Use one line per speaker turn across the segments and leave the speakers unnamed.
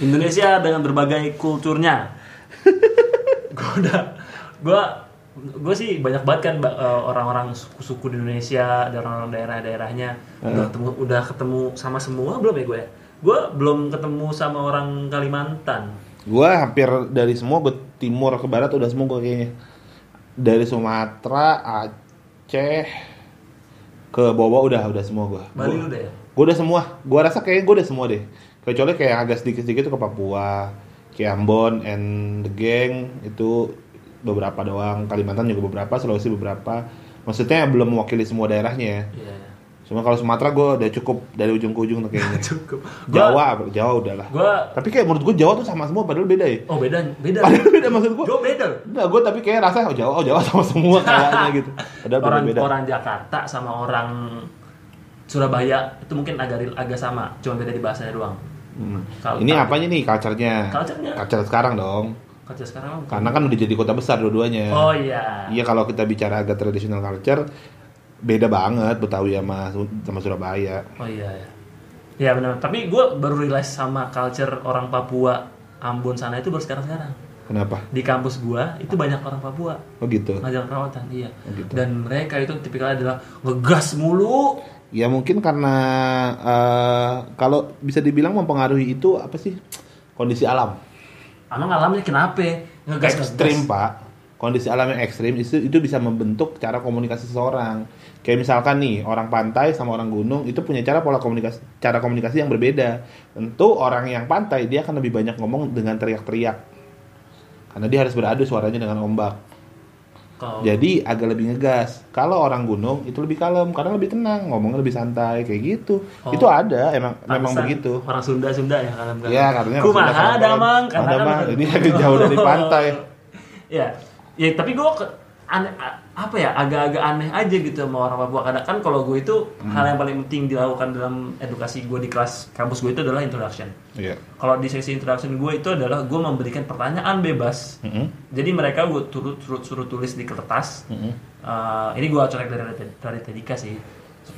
Indonesia dengan berbagai kulturnya. gue udah, gue gue sih banyak banget kan ba- eh, orang-orang suku-suku di Indonesia, ada orang-orang daerah-daerahnya.
Eh.
Udah ketemu, udah ketemu sama semua belum ya gue? Gue belum ketemu sama orang Kalimantan.
Gua hampir dari semua ke timur ke barat udah semua gua kayaknya. Dari Sumatera, Aceh ke Bawah udah udah semua gua.
Bali
Gua-
udah ya?
Gua udah semua. Gua rasa kayaknya gua udah semua deh. Kecuali kayak agak sedikit-sedikit tuh ke Papua, Ambon and the Gang itu beberapa doang. Kalimantan juga beberapa, Sulawesi beberapa. Maksudnya belum mewakili semua daerahnya. ya.
Iya.
Cuma kalau Sumatera gua udah cukup dari ujung ke ujung tuh kayaknya.
Cukup. Gua-
Jawa, Jawa udahlah.
Gua
Tapi kayak menurut gue Jawa tuh sama semua padahal beda ya.
oh beda beda.
Padahal beda maksud gue.
Gue beda.
Nah, gue tapi kayak rasa oh Jawa, oh Jawa sama semua kayaknya gitu. Padahal
orang
beda.
orang Jakarta sama orang Surabaya itu mungkin agak rel- agak sama, cuma beda di bahasanya doang.
Hmm.
Kalau-
Ini apanya nih culture-nya?
Culture-nya.
Culture sekarang dong.
Kerja sekarang apa?
Karena kan udah jadi kota besar dua-duanya.
Oh iya.
Iya kalau kita bicara agak traditional culture beda banget Betawi sama sama Surabaya.
Oh iya ya. Ya benar. Tapi gue baru realize sama culture orang Papua Ambon sana itu baru sekarang sekarang.
Kenapa?
Di kampus gue itu banyak orang Papua
Oh gitu.
ngajar perawatan iya.
Oh, gitu.
Dan mereka itu tipikalnya adalah ngegas mulu.
Ya mungkin karena eh, kalau bisa dibilang mempengaruhi itu apa sih? Kondisi alam.
Emang alamnya kenapa? Ngegas ngegas.
ekstrim pak kondisi alam yang ekstrim itu itu bisa membentuk cara komunikasi seseorang kayak misalkan nih orang pantai sama orang gunung itu punya cara pola komunikasi cara komunikasi yang berbeda tentu orang yang pantai dia akan lebih banyak ngomong dengan teriak-teriak karena dia harus beradu suaranya dengan ombak
Kalau
jadi agak lebih ngegas kalau orang gunung itu lebih kalem karena lebih tenang ngomongnya lebih santai kayak gitu
Oh.
itu ada emang memang
pantesan
begitu
Orang Sunda Sunda ya kalau bukan.
ya katanya
Kumaha
Sunda sama-
damang
Ada, Mang. ini agak jauh dari pantai
ya. Ya tapi gue aneh a- apa ya agak-agak aneh aja gitu sama orang Papua karena kan kalau gue itu hal yang paling penting dilakukan dalam edukasi gue di kelas kampus gue itu adalah introduction.
Iya.
Kalau di sesi introduction gue itu adalah gue memberikan pertanyaan bebas.
Mm-mm.
Jadi mereka gue turut turut suruh tulis di kertas. Eh, ini gue coret dari dari Tedika sih.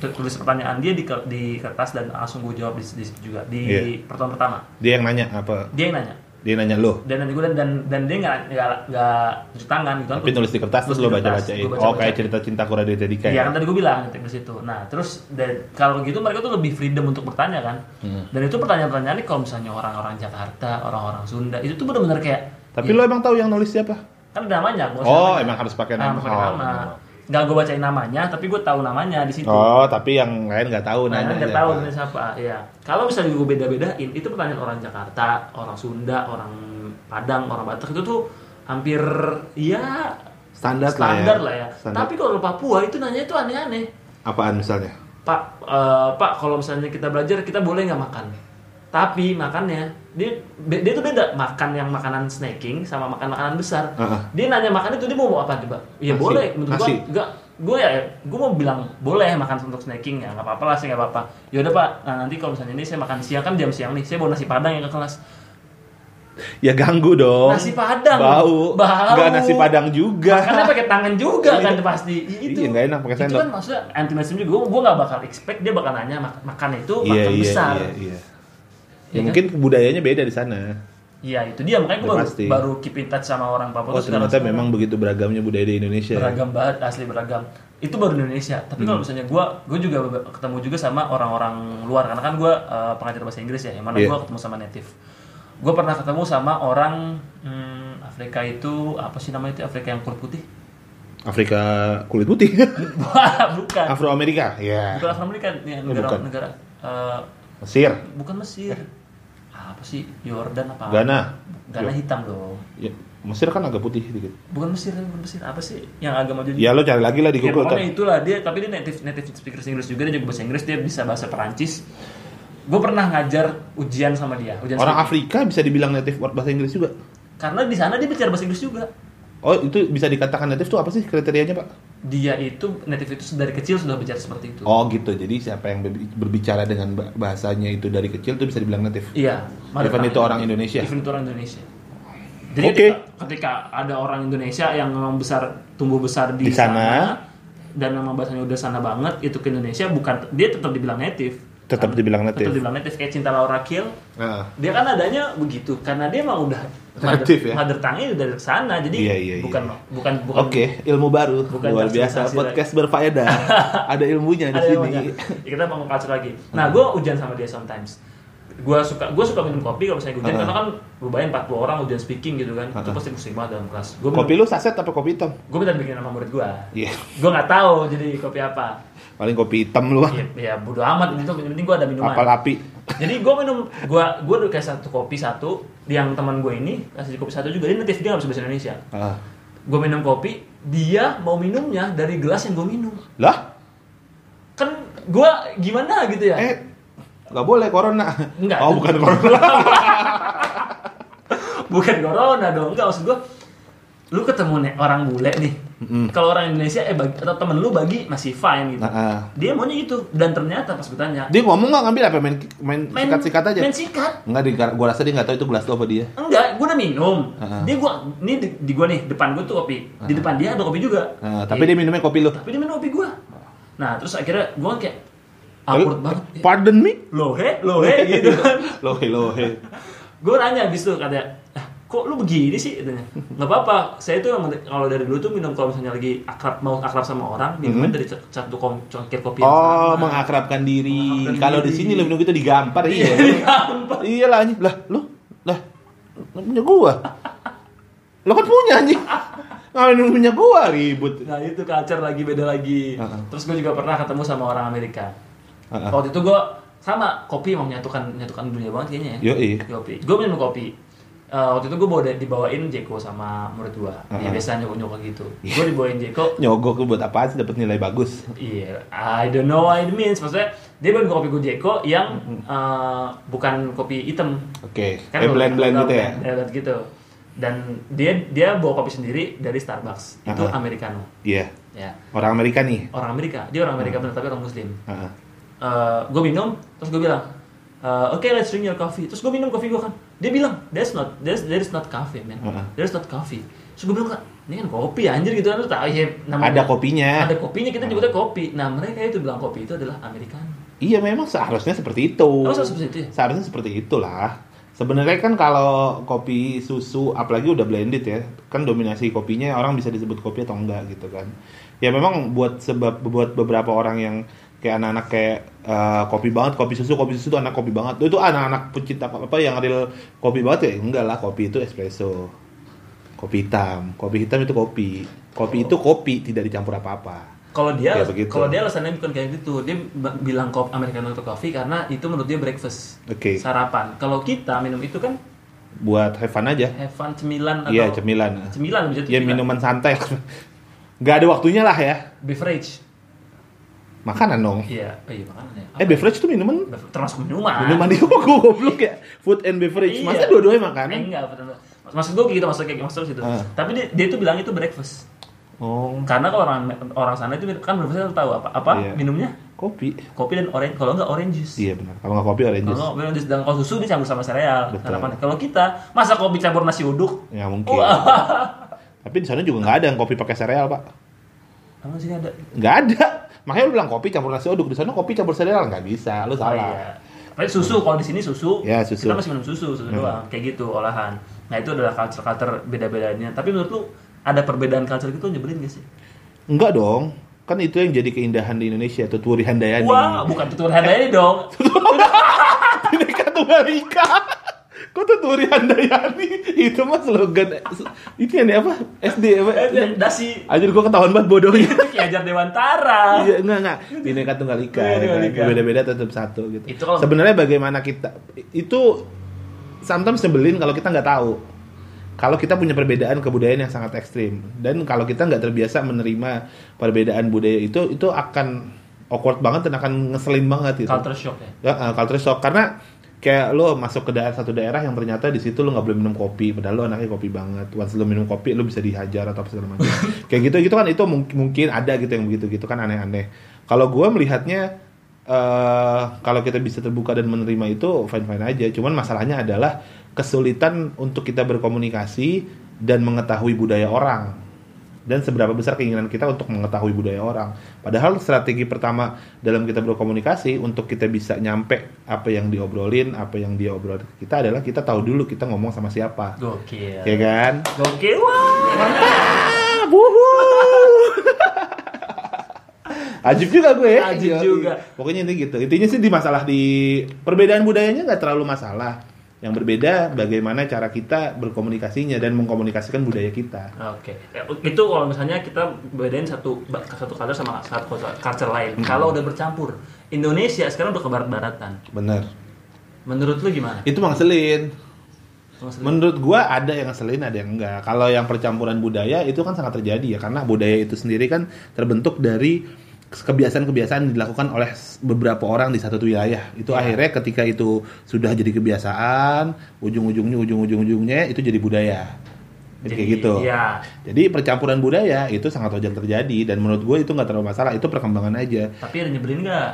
Tu- Tulis pertanyaan dia di, ke- di kertas dan langsung gue jawab di, di situ juga di
Iya.
pertemuan pertama.
dia yang nanya apa
Dia yang nanya
dia nanya lo
dan nanti gue dan, dan dan dia nggak nggak nggak cuci tangan gitu.
tapi nulis di kertas terus
Nulis
lo
di kertas,
baca bacain
gua
oh kayak
baca-bacain.
cerita cinta Raditya Dika
Iya
ya
kan tadi gue bilang ngetik di situ. Nah terus dan kalau gitu mereka tuh lebih freedom untuk bertanya kan.
Hmm.
Dan itu pertanyaan-pertanyaannya kalau misalnya orang-orang Jakarta, orang-orang Sunda itu tuh benar-benar kayak
tapi lo emang tahu yang nulis siapa
kan ada namanya. gua
Oh,
namanya.
emang harus pakai
Ah,
nama.
harus pakai
Oh,
nama.
nama.
Nggak gue bacain namanya, tapi gue tahu namanya di situ.
oh tapi yang lain nggak tahu nanya
Nah, nggak
siapa.
tahu ini siapa. Iya. Kalau misalnya gue beda-bedain, itu pertanyaan orang Jakarta, orang Sunda, orang Padang, orang Batak itu tuh hampir ya
Standar lah ya.
standar lah ya.
Standar.
Tapi kalau orang Papua itu nanya itu aneh-aneh.
apaan misalnya
Pak, eh, Pak, kalau misalnya kita belajar kita boleh nggak makan? Tapi makannya dia be- dia tuh beda makan yang makanan snacking sama makan makanan besar.
Heeh.
Dia nanya makan itu dia mau apa coba? Ya
Nasi.
boleh menurut gua
Nasi.
enggak gue ya gue mau bilang boleh makan untuk snacking ya nggak apa-apa lah sih nggak apa-apa yaudah pak nah nanti kalau misalnya ini saya makan siang kan jam siang nih saya mau nasi padang ya ke kelas
ya ganggu dong
Nasi Padang.
bau
Bau.
nggak nasi padang juga
Makannya Kan pakai tangan juga kan pasti. I- Itu.
Iya, nggak enak pakai
Itu
sendok.
kan maksudnya anti mainstream juga. Gue nggak bakal expect dia bakal nanya mak- makan itu
iya
makan
iya
besar.
iya iya
Iya
ya
kan?
mungkin budayanya beda di sana
Iya itu dia makanya gue
Ya,
baru
pasti.
baru keep in touch sama orang Papua.
oh
tuh sekarang-
ternyata memang ya. begitu beragamnya budaya di Indonesia
beragam banget asli beragam. Itu baru di Indonesia. Tapi
Hmm.
kalau misalnya gue gue juga be- ketemu juga sama orang-orang luar karena kan gue pengajar bahasa Inggris ya yang mana
Iya.
gue ketemu sama native. Gue pernah ketemu sama orang hmm, Afrika itu apa sih namanya itu Afrika yang kulit putih?
Afrika kulit putih
Wah, bukan.
Afro Amerika ya
Bukan Afro Amerika, ya, negara
bukan.
negara eh,
Mesir
bukan Mesir. Apa sih? Yordan apa?
Ghana Iya.
Ghana hitam dong.
Ya, Mesir kan agak putih dikit
Bukan Mesir, tapi bukan Mesir. Apa sih yang agak maju?
ya lo cari lagi lah di
Ya,
Google
pokoknya
kan
itulah dia, tapi dia native native speaker Inggris juga dia juga bahasa Inggris, dia bisa bahasa Perancis. Gue pernah ngajar ujian sama dia, ujian
Orang
speaking.
Afrika bisa dibilang native bahasa Inggris juga.
Karena di sana dia bicara bahasa Inggris juga.
Oh, itu bisa dikatakan native tuh apa sih kriterianya, Pak?
Dia itu native itu dari kecil sudah bicara seperti itu.
Oh, gitu. Jadi siapa yang berbi- berbicara dengan ba- bahasanya itu dari kecil tuh bisa dibilang native.
Iya,
Even itu orang Indonesia?
Even itu orang Indonesia. Jadi
Oke.
ketika, ketika ada orang Indonesia yang memang besar tumbuh besar di,
Di sana.
dan memang bahasanya udah sana banget itu ke Indonesia bukan dia tetap dibilang native.
Tetap dibilang native.
Tetap dibilang native kayak Cinta Laura Kiel.
Nah,
Dia kan adanya begitu karena dia emang udah
Native ya?
mother tongue-nya udah dari sana. Jadi
Iya, iya, iya.
bukan bukan bukan
Oke, ilmu baru
Bukan
luar
sensasi
biasa.
lagi.
Podcast berfaedah. Ada ilmunya di
ada
sini. Hmm.
namanya. Ya, kita mau culture lagi. Nah, gue hujan sama dia sometimes. Gue suka gue suka minum kopi kalau misalnya hujan
Heeh.
karena kan gue bayangin 40 orang hujan speaking gitu kan. Itu
Heeh.
pasti pusing banget dalam kelas. Gue
Hmm. Kopi lu saset apa kopi hitam?
gue minta bikin sama murid gue.
Iya,
Gue nggak tahu jadi kopi apa.
paling kopi hitam lu. ah.
Ya, ya bodo amat itu yang penting gue ada minuman.
Apal api.
Jadi gue minum gue gue udah kayak satu kopi satu yang teman gue ini kasih kopi satu juga dia native dia nggak bisa bahasa Indonesia.
Ah.
Gue minum kopi dia mau minumnya dari gelas yang gue minum.
Lah,
Kan gue gimana gitu ya?
eh nggak boleh corona.
Nggak.
Oh, bukan corona.
bukan corona dong enggak maksud gua lu ketemu nih orang bule nih
Mm-mm.
kalau orang Indonesia eh bagi, atau temen lu bagi masih fine gitu
Nah, ah.
dia maunya itu dan ternyata pas gue tanya
Dia ngomong nggak ngambil apa main main sikat-sikat aja.
main sikat
Enggak, di, gua rasa dia nggak tahu itu gelas lo apa dia.
enggak gua udah minum
Ah.
dia gua ini di, di gua nih depan gua tuh kopi di depan dia ada kopi juga
Nah, tapi
Iya.
dia minumnya kopi lu.
tapi dia minum kopi gua nah terus akhirnya gua kayak
Tapi-
awkward banget
Pardon me?
lohe lohe gitu kan
Lohe, lohe.
gue nanya abis itu katanya "Ah, kok lu begini sih katanya nggak apa-apa saya tuh emang dari- kalau dari dulu tuh minum kalau misalnya lagi akrab mau akrab sama orang minumnya
Mhm.
dari c- satu kom- cangkir kopi yang
Oh,
sama.
mengakrabkan diri.
Mengakrabkan
Kalau di
diri.
sini lu minum gitu digampar iya. iya lah anjing. Lah, lu lah lu punya gua. Lo kan punya anjing. Ngapain lu punya gua ribut.
nah itu kacar lagi beda lagi
Heeh.
terus gue juga pernah ketemu sama orang Amerika
Heeh.
waktu itu gue sama kopi emang menyatukan menyatukan dunia banget kayaknya ya
Yoi.
kopi gue minum kopi Eh, waktu itu gue bawa dibawain Jeko sama murid gue ya
Heeh.
biasanya nyokok nyokok gitu
Iya.
gue dibawain Jeko
Nyogok lu buat apaan sih dapat nilai bagus?
Iya, I don't know what it means. Maksudnya dia bukan kopi Gojeko yang eh, bukan kopi hitam. Kan
Oke, eh blend-blend gitu ya.
blend- blend gitu. Dan dia dia bawa kopi sendiri dari Starbucks. Itu
Uh-uh.
americano.
Iya.
Ya,
Orang Amerika nih. Ah,
orang Amerika. Dia orang Amerika bener tapi orang muslim.
Heeh.
gue Eh, minum, terus gue bilang, eh, oke let's drink your coffee. Terus gue minum kopi gue kan. Dia bilang, that's not that's that is not coffee, man.
Uh-uh.
That is not coffee. Terus gue bilang, "Kak, ini kan kopi anjir gitu kan lu tahu ya
Ada kopinya.
ada kopinya kita nyebutnya kopi nah mereka itu bilang kopi itu adalah americano
Iya memang seharusnya seperti itu.
Oh, seharusnya seperti itu ya?
Seharusnya seperti itulah. Sebenarnya kan kalau kopi susu apalagi udah blended ya, kan dominasi kopinya orang bisa disebut kopi atau enggak gitu kan. Ya memang buat sebab buat beberapa orang yang kayak anak-anak kayak eh, kopi banget, kopi susu, kopi susu itu anak kopi banget. Itu anak-anak pecinta apa yang real kopi banget ya? Enggak lah, kopi itu espresso. Kopi hitam, kopi hitam itu kopi. Kopi itu kopi, tidak dicampur apa-apa.
kalau dia
Ya, begitu.
kalau dia alasannya bukan kayak gitu dia b- bilang kopi americano itu kopi karena itu menurut dia breakfast
Oke.
sarapan kalau kita minum itu kan
Buat have fun aja.
have fun cemilan atau
Iya, cemilan.
cemilan bisa
Ya
cemilan.
minuman santai. Gak ada waktunya lah ya.
beverage
Makanan dong.
iya oh, iya makanan ya.
Eh beverage itu minuman.
Bev- termasuk minuman
Minuman itu kok gue goblok ya. Food and beverage.
Iya.
Masa dua-duanya
Eh,
makanan?
enggak betul maksud gue gitu maksud kayak maksud situ
Kan? Ah.
tapi dia, dia itu bilang itu breakfast
Oh,
karena kalau orang orang sana itu kan breakfast tahu apa apa
Iya.
minumnya
kopi.
kopi dan orange kalau enggak orange juice
Iya benar. Kalau nggak kopi orange juice.
Kalau memang di- dalam kalau susu dicampur sama sereal.
Betul.
Sarapan. Kalau kita masa kopi campur nasi uduk.
Ya mungkin. Tapi di sana juga nggak ada yang kopi pakai sereal pak.
Emang sini ada.
Nggak ada. Makanya lu bilang kopi campur nasi uduk di sana kopi campur sereal nggak bisa. Lu
Oh,
salah.
iya. Tapi susu kalau di sini susu,
Ya, susu.
kita
Iya.
masih minum susu, susu doang, kayak gitu olahan. Nah itu adalah culture-culture beda-bedanya. Tapi menurut lu ada perbedaan culture gitu nyebelin gak sih?
Enggak dong. Kan itu yang jadi keindahan di Indonesia tuh Turi Handayani.
Wah, bukan tutur handayani dong.
Bineka Tunggal Ika. Kok tuh Turi Handayani? Itu mah slogan itu yang di apa? SD apa?
Eh, Dasi
Anjir gua ketahuan banget bodohnya.
itu Ki Hajar Dewantara.
Iya, enggak enggak. Bineka Tunggal Ika.
Iya, Tunggal Ika.
ya. Beda-beda tetap satu gitu.
Itu kalau-
Sebenarnya bagaimana kita itu sometimes sebelin kalau kita nggak tahu. Kalau kita punya perbedaan kebudayaan yang sangat ekstrim dan kalau kita nggak terbiasa menerima perbedaan budaya itu itu akan awkward banget dan akan ngeselin banget gitu.
Culture shock ya.
Ya, eh, culture shock karena kayak lo masuk ke daerah satu daerah yang ternyata di situ lo nggak boleh minum kopi padahal lo anaknya kopi banget once lo minum kopi lo bisa dihajar atau apa segala macam kayak gitu gitu kan itu mung- mungkin ada gitu yang begitu gitu kan aneh-aneh kalau gue melihatnya eh kalau kita bisa terbuka dan menerima itu fine fine aja. Cuman masalahnya adalah kesulitan untuk kita berkomunikasi dan mengetahui budaya orang dan seberapa besar keinginan kita untuk mengetahui budaya orang. Padahal strategi pertama dalam kita berkomunikasi untuk kita bisa nyampe apa yang diobrolin, apa yang dia obrolin ke kita adalah kita tahu dulu kita ngomong sama siapa.
Gokil.
Ya kan?
Gokil. Wah.
Ah, wuhuu. Ajib juga gue ya.
Ajib
Yoi.
juga.
Pokoknya ini gitu. Intinya sih di masalah di perbedaan budayanya nggak terlalu masalah. Yang berbeda bagaimana cara kita berkomunikasinya dan mengkomunikasikan budaya kita.
Oke, Ya, itu kalau misalnya kita bedain satu ba- satu culture sama satu culture lain.
Hmm.
Kalau udah bercampur, Indonesia sekarang udah ke barat-baratan.
Bener.
Menurut lu gimana?
Itu mangselin.
Mas Lu?
Menurut gua ada yang ngeselin ada yang enggak. Kalau yang percampuran budaya itu kan sangat terjadi ya karena budaya itu sendiri kan terbentuk dari kebiasaan-kebiasaan yang dilakukan oleh s- beberapa orang di satu wilayah. Itu
Iya.
akhirnya ketika itu sudah jadi kebiasaan, ujung-ujungnya ujung-ujung-ujungnya itu jadi budaya. Jadi, kayak
Jadi,
gitu.
Iya.
Jadi percampuran budaya itu sangat wajar terjadi dan menurut gue itu nggak terlalu masalah, itu perkembangan aja.
Tapi ada nyebelin nggak?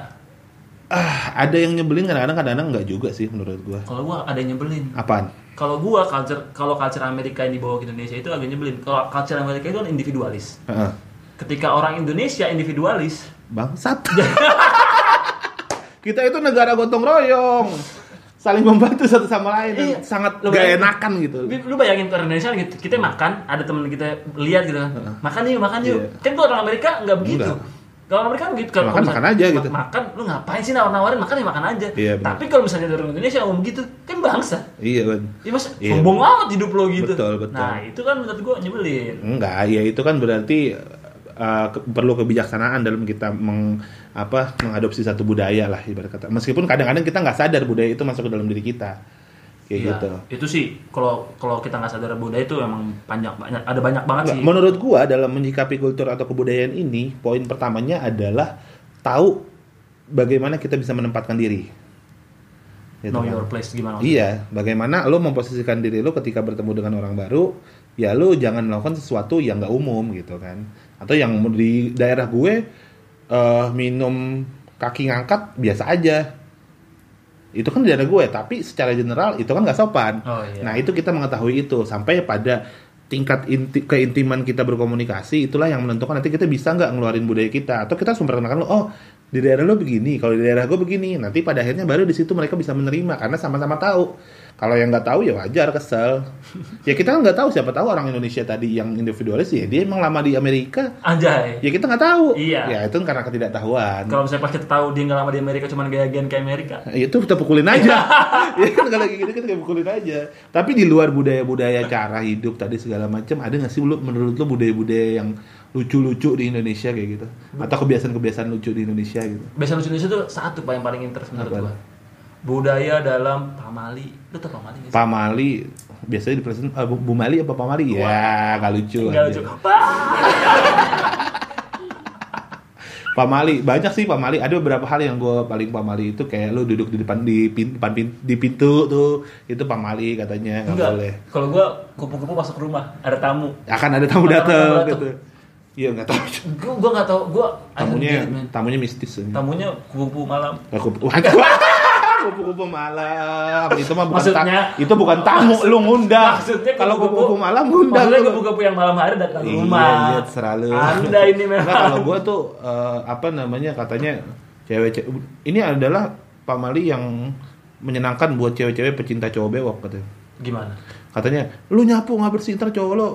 Ah, ada yang nyebelin kadang-kadang kadang-kadang nggak juga sih menurut gua.
Kalau gua ada yang nyebelin.
Apaan?
Kalau gua culture kalau culture Amerika yang dibawa ke Indonesia itu agak nyebelin. Kalau culture Amerika itu kan individualis.
Heeh.
Ketika orang Indonesia individualis,
Bangsat. kita itu negara gotong royong. Saling membantu satu sama lain. dan
Iya.
Sangat
Lu
gak
bayangin.
enakan gitu.
Bi- lu bayangin orang Indonesia gitu, kita
Hmm.
makan, ada temen kita lihat gitu kan, makan yuk, makan yuk.
Iya.
Kan tuh orang Amerika nggak begitu.
Enggak.
Kalau orang Amerika kan gitu, kalau
Makan,
misalnya-
makan aja
ma-
gitu.
Makan, lu ngapain sih nawar-nawarin, makan ya makan aja.
Iya, benar.
Tapi kalau misalnya dari orang Indonesia ngomong gitu, kan bangsa.
Iya, Ben.
Ya mas,
Iya.
sombong amat hidup lo gitu.
Betul, betul.
Nah itu kan menurut gua nyebelin.
Enggak, ya itu kan berarti uh, ke- perlu kebijaksanaan dalam kita meng, apa mengadopsi satu budaya lah ibarat kata. Meskipun kadang-kadang kita nggak sadar budaya itu masuk ke dalam diri kita. Kayak
Iya.
gitu.
Itu sih kalau kalau kita nggak sadar budaya itu emang panjang banyak, ada banyak banget
Nggak,
sih.
menurut gua dalam menyikapi kultur atau kebudayaan ini, poin pertamanya adalah tahu bagaimana kita bisa menempatkan diri. Gitu
know
kan.
your place gimana? maksudnya.
Iya, bagaimana lo memposisikan diri lo ketika bertemu dengan orang baru, ya lo jangan melakukan sesuatu yang nggak umum gitu kan. Atau yang di daerah gue eh, minum kaki ngangkat biasa aja. Itu kan di daerah gue, tapi secara general itu kan nggak sopan.
Oh iya.
Nah itu kita mengetahui itu sampai pada tingkat inti- keintiman kita berkomunikasi itulah yang menentukan nanti kita bisa nggak ngeluarin budaya kita atau kita harus memperkenalkan lo oh di daerah lo begini kalau di daerah gue begini nanti pada akhirnya baru di situ mereka bisa menerima karena sama-sama tahu kalau yang nggak tahu ya wajar kesel ya kita kan nggak tahu siapa tahu orang Indonesia tadi yang individualis ya dia emang lama di Amerika
Anjay.
ya kita nggak tahu
Iya.
ya itu karena ketidaktahuan
Kalau misalnya pas kita tahu dia nggak lama di Amerika cuman gaya-gayaan kayak Amerika,
Ya, itu kita pukulin aja ya kan kalau kayak gitu kan kita pukulin aja tapi di luar budaya-budaya cara hidup tadi segala macam ada nggak sih lu menurut lu budaya-budaya yang lucu-lucu di Indonesia kayak gitu atau kebiasaan-kebiasaan lucu di Indonesia gitu
Biasa lucu Indonesia tuh satu paling paling interest menurut
Apa?
gua. Budaya dalam pamali. Lu tau pamali nggak sih?
Pamali biasanya di present eh, Bu Bu Mali apa Pamali ya nggak lucu,
Nggak
aja.
lucu. Wah!
Pamali banyak sih Pamali ada beberapa hal yang gue paling Pamali itu kayak lu duduk di depan di pin- depan pin- di pintu tuh itu Pamali katanya nggak
Enggak.
boleh
Kalau gua kupu-kupu masuk rumah, ada tamu.
akan
Akan ada
ada tamu
tamu
datang
datang.
gitu iya nggak tahu
Gua gua nggak tahu, gua I don't
tamunya
get it, man.
tamunya mistis aja.
tamunya kupu-kupu malam.
Aku kupu-kupu malam itu mah bukan ta-
Maksudnya-
itu bukan tamu lu ngundang.
Maksudnya
Ya, kalau
kupu-kupu-
kupu-kupu malam ngundang.
Maksudnya
lu.
kupu-kupu yang malam hari datang ke
Iya,
rumah.
iya, terserah lu.
Anda ini
Nah,
memang.
kalau gua tuh eh, apa namanya katanya cewek-cewek ini adalah pamali yang menyenangkan buat cewek-cewek pecinta cowok bewok katanya.
Gimana?
Katanya, "Lu nyapu nggak bersih ntar cowok lo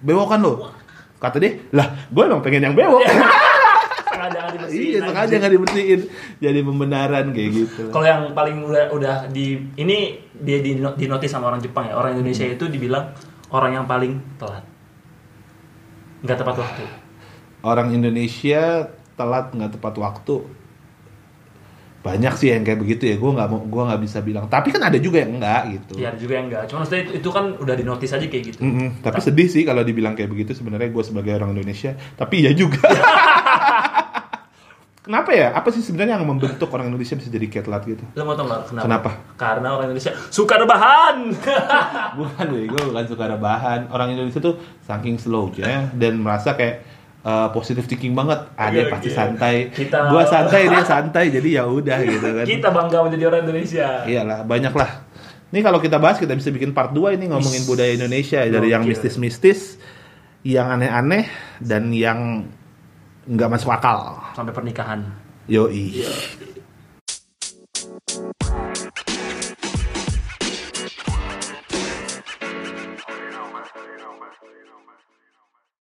bewokan lo." Kata dia, "Lah, gua emang pengen yang bewok."
Sengaja nggak dibersihin,
iya, sengaja
anjing.
nggak dibersihin. Jadi pembenaran kayak gitu.
Kalau yang paling udah udah di ini dia di, di notice sama orang Jepang ya. Orang Indonesia itu dibilang orang yang paling telat. Nggak tepat waktu.
orang Indonesia telat nggak tepat waktu banyak sih yang kayak begitu ya gue nggak mau gue nggak bisa bilang tapi kan ada juga yang enggak gitu
Iya ada juga yang enggak. Cuma maksudnya itu, itu kan udah di notice aja kayak gitu.
Mm-mm. tapi sedih sih kalau dibilang kayak begitu sebenarnya gue sebagai orang Indonesia tapi ya juga kenapa ya apa sih sebenarnya yang membentuk orang Indonesia bisa jadi kayak telat gitu
Lo mau tau nggak kenapa?
Kenapa?
Karena orang Indonesia suka rebahan.
bukan gue bukan suka rebahan orang Indonesia tuh saking slownya dan merasa kayak eh, positive thinking banget. Ah, dia
Oke,
pasti
oke.
santai.
Kita-
Gua santai, dia santai. Jadi ya udah gitu kan.
Kita bangga menjadi orang Indonesia.
Iyalah, banyak lah. Ini kalau kita bahas kita bisa bikin part 2 ini
Wis.
ngomongin budaya Indonesia dari yang
Gokil.
mistis-mistis, yang aneh-aneh dan yang nggak masuk akal.
Sampai pernikahan.
Yoi.